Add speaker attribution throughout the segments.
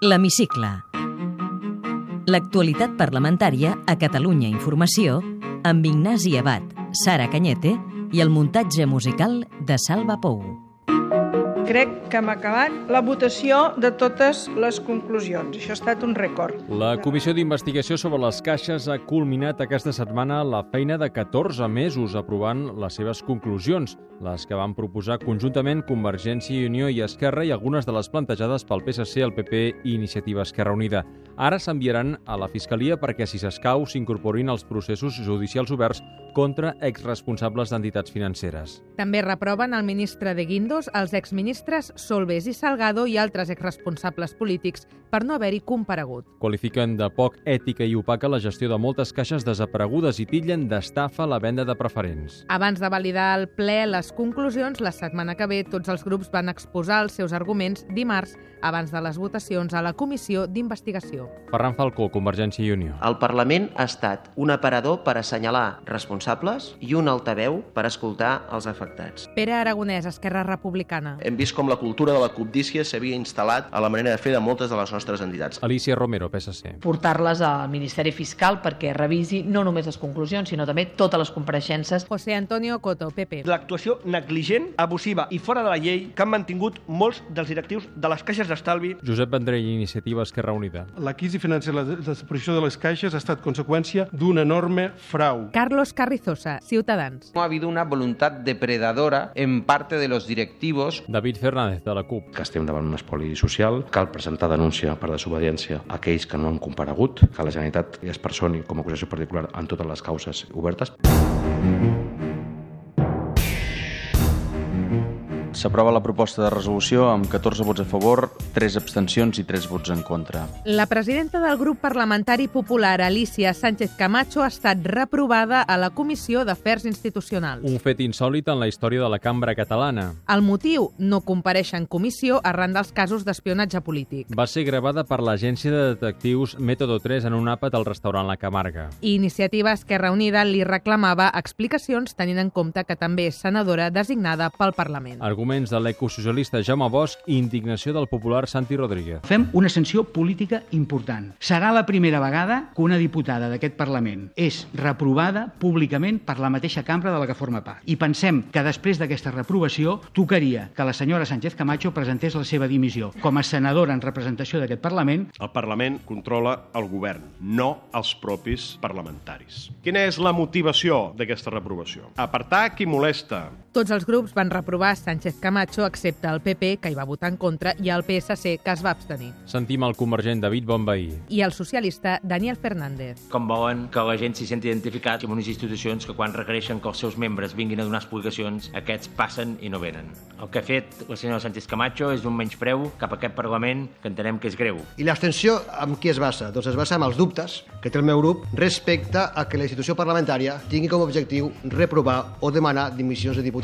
Speaker 1: L'Hemicicle. L'actualitat parlamentària a Catalunya Informació amb Ignasi Abad, Sara Canyete i el muntatge musical de Salva Pou.
Speaker 2: Crec que hem acabat la votació de totes les conclusions. Això ha estat un rècord.
Speaker 3: La Comissió d'Investigació sobre les Caixes ha culminat aquesta setmana la feina de 14 mesos aprovant les seves conclusions, les que van proposar conjuntament Convergència i Unió i Esquerra i algunes de les plantejades pel PSC, el PP i Iniciativa Esquerra Unida. Ara s'enviaran a la Fiscalia perquè, si s'escau, s'incorporin als processos judicials oberts contra exresponsables d'entitats financeres.
Speaker 4: També reproven el ministre de Guindos, els exministres Solbes i Salgado i altres exresponsables polítics per no haver-hi comparegut.
Speaker 3: Qualifiquen de poc ètica i opaca la gestió de moltes caixes desaparegudes i titllen d'estafa la venda de preferents.
Speaker 4: Abans de validar el ple les conclusions, la setmana que ve tots els grups van exposar els seus arguments dimarts abans de les votacions a la Comissió d'Investigació.
Speaker 3: Ferran Falcó, Convergència i Unió.
Speaker 5: El Parlament ha estat un aparador per assenyalar responsables i un altaveu per escoltar els afectats.
Speaker 4: Pere Aragonès, Esquerra Republicana.
Speaker 6: Hem vist com la cultura de la cobdícia s'havia instal·lat a la manera de fer de moltes de les nostres entitats.
Speaker 3: Alicia Romero, PSC.
Speaker 7: portar-les al Ministeri Fiscal perquè revisi no només les conclusions, sinó també totes les compareixences.
Speaker 4: José Antonio Coto, PP.
Speaker 8: l'actuació negligent, abusiva i fora de la llei que han mantingut molts dels directius de les caixes d'estalvi.
Speaker 3: Josep Vendrell, Iniciativa Esquerra Unida.
Speaker 9: La crisi financera i la desaparició de les caixes ha estat conseqüència d'un enorme frau.
Speaker 4: Carlos Carrizosa, Ciutadans.
Speaker 10: No ha habido una voluntad depredadora en parte de los directivos.
Speaker 3: David Fernández, de la CUP.
Speaker 6: Que estem davant un espoli social, cal presentar denúncia per desobediència a aquells que no han comparegut, que la Generalitat es personi com a acusació particular en totes les causes obertes.
Speaker 10: S'aprova la proposta de resolució amb 14 vots a favor, 3 abstencions i 3 vots en contra.
Speaker 4: La presidenta del grup parlamentari popular, Alicia Sánchez Camacho, ha estat reprovada a la Comissió d'Afers Institucionals.
Speaker 3: Un fet insòlit en la història de la cambra catalana.
Speaker 4: El motiu, no compareix en comissió arran dels casos d'espionatge polític.
Speaker 3: Va ser gravada per l'agència de detectius Método 3 en un àpat al restaurant La Camarga.
Speaker 4: I Iniciativa Esquerra Unida li reclamava explicacions tenint en compte que també és senadora designada pel Parlament.
Speaker 3: Arguments de l'ecosocialista Jaume Bosch i indignació del popular Santi Rodríguez.
Speaker 11: Fem una sanció política important. Serà la primera vegada que una diputada d'aquest Parlament és reprovada públicament per la mateixa cambra de la que forma part. I pensem que després d'aquesta reprovació tocaria que la senyora Sánchez Camacho presentés la seva dimissió com a senadora en representació d'aquest Parlament.
Speaker 8: El Parlament controla el govern, no els propis parlamentaris. Quina és la motivació d'aquesta reprovació? Apartar qui molesta.
Speaker 4: Tots els grups van reprovar Sánchez Camacho, excepte el PP, que hi va votar en contra, i el PSC, que es va abstenir.
Speaker 3: Sentim el convergent David Bonveí.
Speaker 4: I el socialista Daniel Fernández.
Speaker 10: Com volen que la gent s'hi senti identificat amb unes institucions que quan requereixen que els seus membres vinguin a donar explicacions, aquests passen i no venen. El que ha fet la senyora Sánchez Camacho és un menyspreu cap a aquest Parlament que entenem que és greu.
Speaker 11: I l'abstenció amb qui es basa? Doncs es basa amb els dubtes que té el meu grup respecte a que la institució parlamentària tingui com a objectiu reprovar o demanar dimissions de diputats.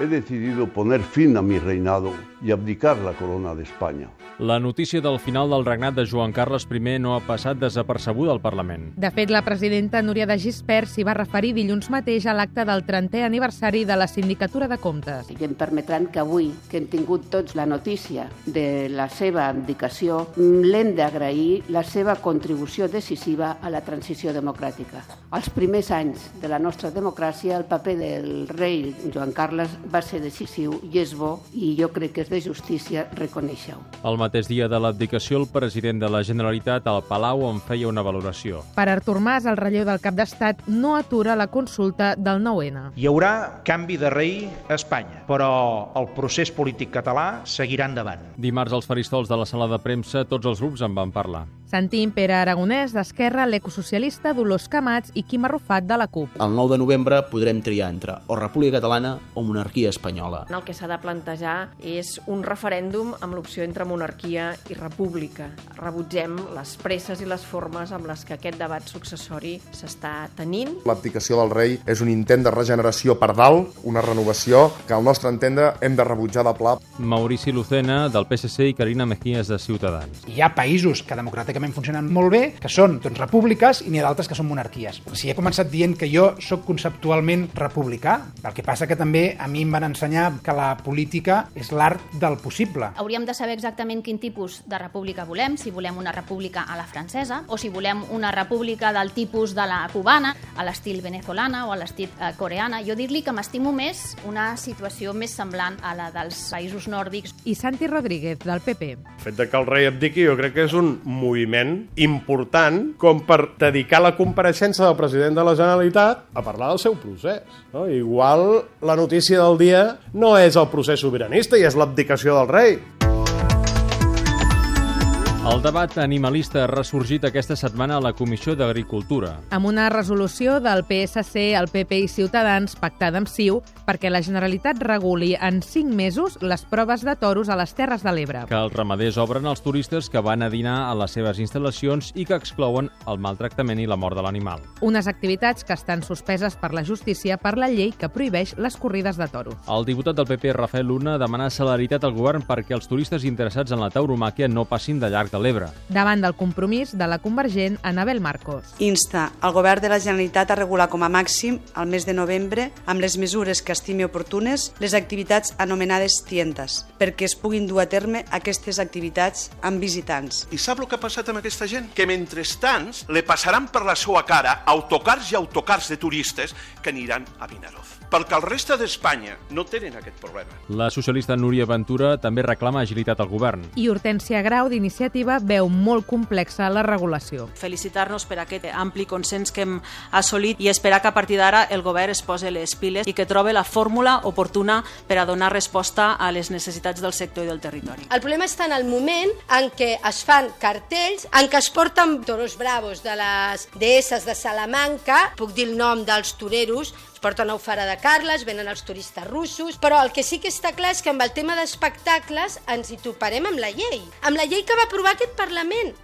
Speaker 9: He decidido poner fin a mi reinado y abdicar la corona de España.
Speaker 3: La notícia del final del regnat de Joan Carles I no ha passat desapercebuda al Parlament.
Speaker 4: De fet, la presidenta Núria de Gispert s'hi va referir dilluns mateix a l'acte del 30è aniversari de la Sindicatura de Comptes.
Speaker 11: I em permetran que avui, que hem tingut tots la notícia de la seva abdicació, l'hem d'agrair la seva contribució decisiva a la transició democràtica. Als primers anys de la nostra democràcia, el paper del rei Joan Carles va ser decisiu i és bo, i jo crec que és de justícia reconèixer-ho.
Speaker 3: El mateix dia de l'abdicació, el president de la Generalitat al Palau en feia una valoració.
Speaker 4: Per Artur Mas, el relleu del cap d'estat no atura la consulta del 9-N.
Speaker 10: Hi haurà canvi de rei a Espanya, però el procés polític català seguirà endavant.
Speaker 3: Dimarts, als faristols de la sala de premsa, tots els grups en van parlar.
Speaker 4: Sentim Pere Aragonès, d'Esquerra, l'ecosocialista Dolors Camats i Quim Arrufat, de la CUP.
Speaker 11: El 9 de novembre podrem triar entre o República Catalana o monarquia espanyola.
Speaker 7: El que s'ha de plantejar és un referèndum amb l'opció entre monarquia i república. Rebutgem les presses i les formes amb les que aquest debat successori s'està tenint.
Speaker 6: L'abdicació del rei és un intent de regeneració per dalt, una renovació que al nostre entendre hem de rebutjar de pla.
Speaker 3: Maurici Lucena, del PSC, i Carina Mejías, de Ciutadans.
Speaker 11: Hi ha països que democràticament funcionen molt bé, que són doncs, repúbliques, i n'hi ha d'altres que són monarquies. Si he començat dient que jo sóc conceptualment republicà, el que passa que també a mi
Speaker 12: mi em van ensenyar que la política és l'art del possible.
Speaker 13: Hauríem de saber exactament quin tipus de república volem, si volem una república a la francesa o si volem una república del tipus de la cubana, a l'estil venezolana o a l'estil eh, coreana. Jo dir-li que m'estimo més una situació més semblant a la dels països nòrdics.
Speaker 4: I Santi Rodríguez, del PP.
Speaker 8: El fet de que el rei abdiqui jo crec que és un moviment important com per dedicar la compareixença del president de la Generalitat a parlar del seu procés. No? Igual la notícia del dia no és el procés sobiranista i és l'abdicació del rei.
Speaker 3: El debat animalista ha ressorgit aquesta setmana a la Comissió d'Agricultura.
Speaker 4: Amb una resolució del PSC, el PP i Ciutadans pactada amb CiU perquè la Generalitat reguli en 5 mesos les proves de toros a les Terres de l'Ebre.
Speaker 3: Que els ramaders obren als turistes que van a dinar a les seves instal·lacions i que exclouen el maltractament i la mort de l'animal.
Speaker 4: Unes activitats que estan suspeses per la justícia per la llei que prohibeix les corrides de toros.
Speaker 3: El diputat del PP, Rafael Luna, demana celeritat al govern perquè els turistes interessats en la tauromàquia no passin de llarg de l'Ebre.
Speaker 4: Davant del compromís de la Convergent, Anabel Marcos.
Speaker 11: Insta el Govern de la Generalitat a regular com a màxim al mes de novembre, amb les mesures que estimi oportunes, les activitats anomenades tientes, perquè es puguin dur a terme aquestes activitats amb visitants.
Speaker 14: I sap el que ha passat amb aquesta gent? Que mentrestant le passaran per la seva cara autocars i autocars de turistes que aniran a Vinaròs. Perquè el resta d'Espanya no tenen aquest problema.
Speaker 3: La socialista Núria Ventura també reclama agilitat al govern.
Speaker 4: I Hortència Grau, d'iniciativa, veu molt complexa la regulació.
Speaker 15: Felicitar-nos per aquest ampli consens que hem assolit i esperar que a partir d'ara el govern es posi les piles i que trobe la fórmula oportuna per a donar resposta a les necessitats del sector i del territori.
Speaker 16: El problema està en el moment en què es fan cartells, en què es porten toros bravos de les deesses de Salamanca, puc dir el nom dels toreros, es porten a Ofara de Carles, venen els turistes russos, però el que sí que està clar és que amb el tema d'espectacles ens hi toparem amb la llei, amb la llei que va aprovar aquest Parlament.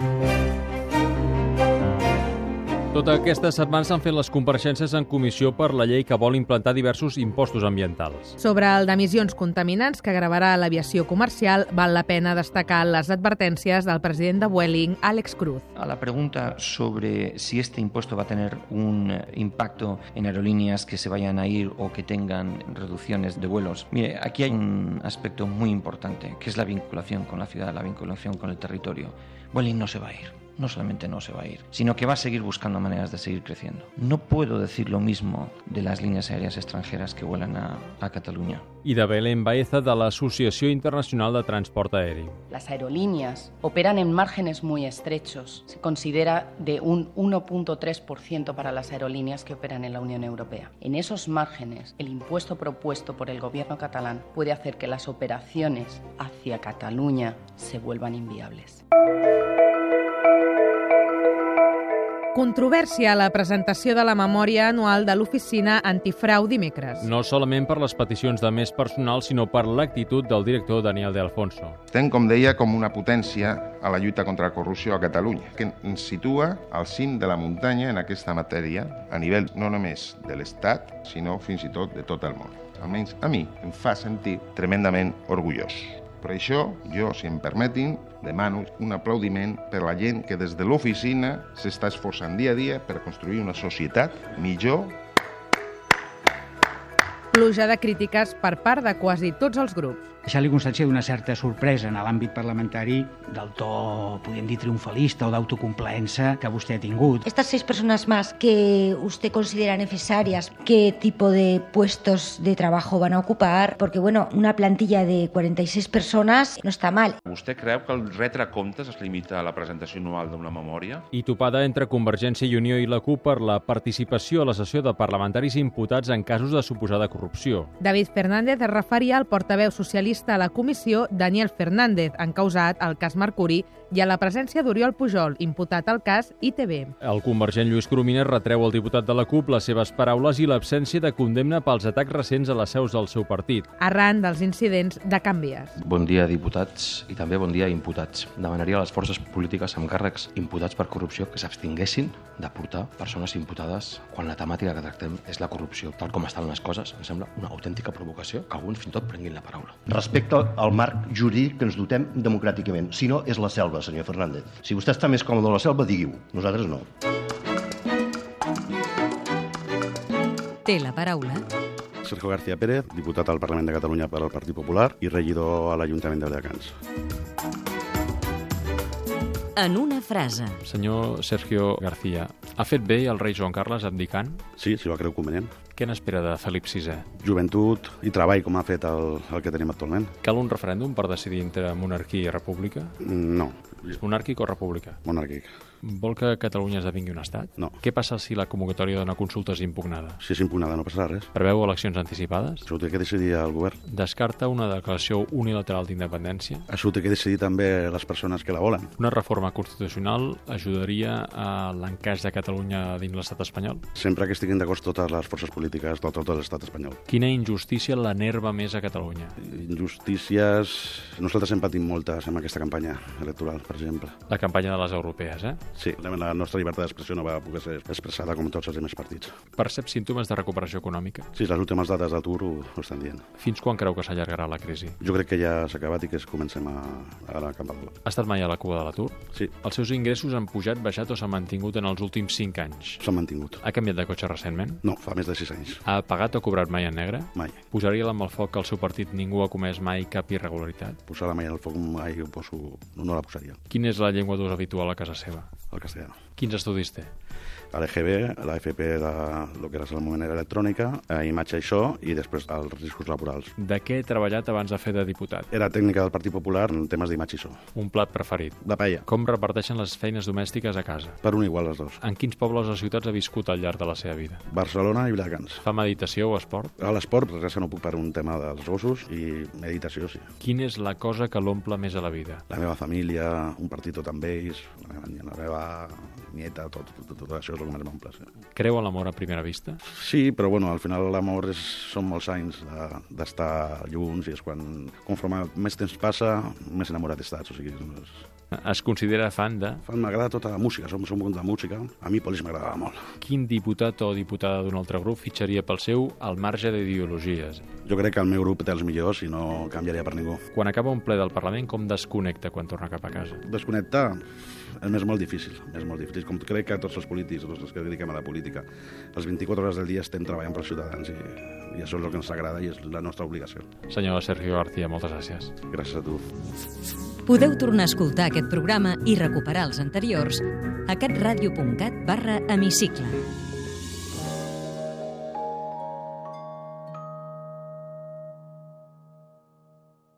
Speaker 3: Tota aquesta setmana s'han fet les compareixences en comissió per la llei que vol implantar diversos impostos ambientals.
Speaker 4: Sobre el d'emissions contaminants que gravarà l'aviació comercial, val la pena destacar les advertències del president de Vueling, Alex Cruz.
Speaker 2: A la pregunta sobre si este impuesto va a tener un eh, impacto en aerolíneas que se vayan a ir o que tengan reducciones de vuelos, mire, aquí hay un aspecto muy importante, que es la vinculación con la ciudad, la vinculación con el territorio. Vueling no se va a ir no solamente no se va a ir, sino que va a seguir buscando maneras de seguir creciendo. No puedo decir lo mismo de las líneas aéreas extranjeras que vuelan a, a Cataluña.
Speaker 3: Y de Belén Baeza de la Asociación Internacional de Transporte Aéreo.
Speaker 17: Las aerolíneas operan en márgenes muy estrechos. Se considera de un 1.3% para las aerolíneas que operan en la Unión Europea. En esos márgenes, el impuesto propuesto por el gobierno catalán puede hacer que las operaciones hacia Cataluña se vuelvan inviables.
Speaker 4: Controvèrsia a la presentació de la memòria anual de l'oficina antifrau dimecres.
Speaker 3: No solament per les peticions de més personal, sinó per l'actitud del director Daniel De Alfonso.
Speaker 18: Estem, com deia, com una potència a la lluita contra la corrupció a Catalunya, que ens situa al cim de la muntanya en aquesta matèria, a nivell no només de l'Estat, sinó fins i tot de tot el món. Almenys a mi em fa sentir tremendament orgullós. Per això, jo, si em permetin, demano un aplaudiment per la gent que des de l'oficina s'està esforçant dia a dia per construir una societat millor
Speaker 4: Pluja de crítiques per part de quasi tots els grups.
Speaker 19: Deixar-li constància d'una certa sorpresa en l'àmbit parlamentari del to, podríem dir, triunfalista o d'autocomplença que vostè ha tingut.
Speaker 20: Estas seis personas más que usted considera necesarias, ¿qué tipo de puestos de trabajo van a ocupar? Porque, bueno, una plantilla de 46 personas no está mal.
Speaker 21: Vostè creu que el retre comptes es limita a la presentació anual d'una memòria?
Speaker 3: I topada entre Convergència i Unió i la CUP per la participació a la sessió de parlamentaris imputats en casos de suposada corrupció.
Speaker 4: David Fernández es referia al portaveu socialista socialista a la comissió Daniel Fernández, encausat al cas Mercuri, i a la presència d'Oriol Pujol, imputat al cas ITV.
Speaker 3: El convergent Lluís Coromines retreu al diputat de la CUP les seves paraules i l'absència de condemna pels atacs recents a les seus del seu partit.
Speaker 4: Arran dels incidents de Canvies.
Speaker 22: Bon dia, diputats, i també bon dia, imputats. Demanaria a les forces polítiques amb càrrecs imputats per corrupció que s'abstinguessin de portar persones imputades quan la temàtica que tractem és la corrupció. Tal com estan les coses, em sembla una autèntica provocació que alguns fins i tot prenguin la paraula
Speaker 23: respecte al marc jurídic que ens dotem democràticament. Si no, és la selva, senyor Fernández. Si vostè està més còmode a la selva, digui-ho. Nosaltres no.
Speaker 1: Té la paraula
Speaker 2: Sergio García Pérez, diputat al Parlament de Catalunya per al Partit Popular i regidor a l'Ajuntament de Viladecans.
Speaker 1: En una frase.
Speaker 3: Senyor Sergio García, ha fet bé el rei Joan Carles abdicant?
Speaker 2: Sí, si la creu convenient.
Speaker 3: Què n'espera de Felip VI?
Speaker 2: Joventut i treball, com ha fet el, el que tenim actualment.
Speaker 3: Cal un referèndum per decidir entre monarquia i república?
Speaker 2: No,
Speaker 3: És monàrquic o república?
Speaker 2: monàrquic.
Speaker 3: Vol que Catalunya esdevingui un estat?
Speaker 2: No.
Speaker 3: Què passa si la convocatòria d'una consulta és impugnada?
Speaker 2: Si és impugnada no passarà res.
Speaker 3: Preveu eleccions anticipades?
Speaker 2: Això ho té que decidir el govern.
Speaker 3: Descarta una declaració unilateral d'independència?
Speaker 2: Això ho té que decidir també les persones que la volen.
Speaker 3: Una reforma constitucional ajudaria a l'encaix de Catalunya dins l'estat espanyol?
Speaker 2: Sempre que estiguin d'acord totes les forces polítiques de tot l'estat espanyol.
Speaker 3: Quina injustícia l'enerva més a Catalunya?
Speaker 2: Injustícies... Nosaltres hem patit moltes amb aquesta campanya electoral, per exemple.
Speaker 3: La campanya de les europees, eh?
Speaker 2: Sí, la nostra llibertat d'expressió no va poder ser expressada com tots els altres partits.
Speaker 3: Percep símptomes de recuperació econòmica?
Speaker 2: Sí, les últimes dades d'atur ho, ho estan dient.
Speaker 3: Fins quan creu que s'allargarà la crisi?
Speaker 2: Jo crec que ja s'ha acabat i que es comencem a, a la campanya.
Speaker 3: Ha estat mai a la cua de l'atur?
Speaker 2: Sí.
Speaker 3: Els seus ingressos han pujat, baixat o s'han mantingut en els últims 5 anys?
Speaker 2: S'han mantingut.
Speaker 3: Ha canviat de cotxe recentment?
Speaker 2: No, fa més de 6 anys.
Speaker 3: Ha pagat o cobrat mai en negre?
Speaker 2: Mai.
Speaker 3: Posaria la mà al foc que el seu partit ningú ha comès mai cap irregularitat?
Speaker 2: Posar la mà al foc, ai, ho poso... no, no la posaria.
Speaker 3: Quina és la llengua d'ús habitual a casa seva?
Speaker 2: El castellano.
Speaker 3: Quins estudis té?
Speaker 2: A l'EGB, a l'AFP de lo que era el moment era electrònica, a imatge i so, i després els riscos laborals.
Speaker 3: De què he treballat abans de fer de diputat?
Speaker 2: Era tècnica del Partit Popular en temes d'imatge i so.
Speaker 3: Un plat preferit.
Speaker 2: La paella.
Speaker 3: Com reparteixen les feines domèstiques a casa?
Speaker 2: Per un igual, les dos.
Speaker 3: En quins pobles o ciutats ha viscut al llarg de la seva vida?
Speaker 2: Barcelona i Viladecans.
Speaker 3: Fa meditació o esport?
Speaker 2: A l'esport, res no puc per un tema dels gossos i meditació, sí.
Speaker 3: Quina és la cosa que l'omple més a la vida?
Speaker 2: La meva família, un partit tot amb ells, la meva, la meva nieta, tot, tot, tot això és el que més m'omple. Sí.
Speaker 3: Creu en l'amor a primera vista?
Speaker 2: Sí, però bueno, al final l'amor és, són molts anys de- d'estar junts i és quan, conforme més temps passa, més enamorat estàs. O sigui, és,
Speaker 3: Es considera fan de...
Speaker 2: fan- m'agrada tota la música, som, som un de música. A mi Polis m'agradava molt.
Speaker 3: Quin diputat o diputada d'un altre grup fitxaria pel seu al marge d'ideologies?
Speaker 2: Jo crec que el meu grup té els millors i no canviaria per ningú.
Speaker 3: Quan acaba un ple del Parlament, com desconnecta quan torna cap a casa?
Speaker 2: Desconnectar és més molt difícil, és molt difícil. Com crec que tots els polítics, tots els que dediquem a la política, les 24 hores del dia estem treballant pels ciutadans i, i això és el que ens agrada i és la nostra obligació.
Speaker 3: Senyora Sergio García, moltes gràcies.
Speaker 2: Gràcies a tu.
Speaker 1: Podeu tornar a escoltar aquest programa i recuperar els anteriors a catradio.cat barra hemicicle.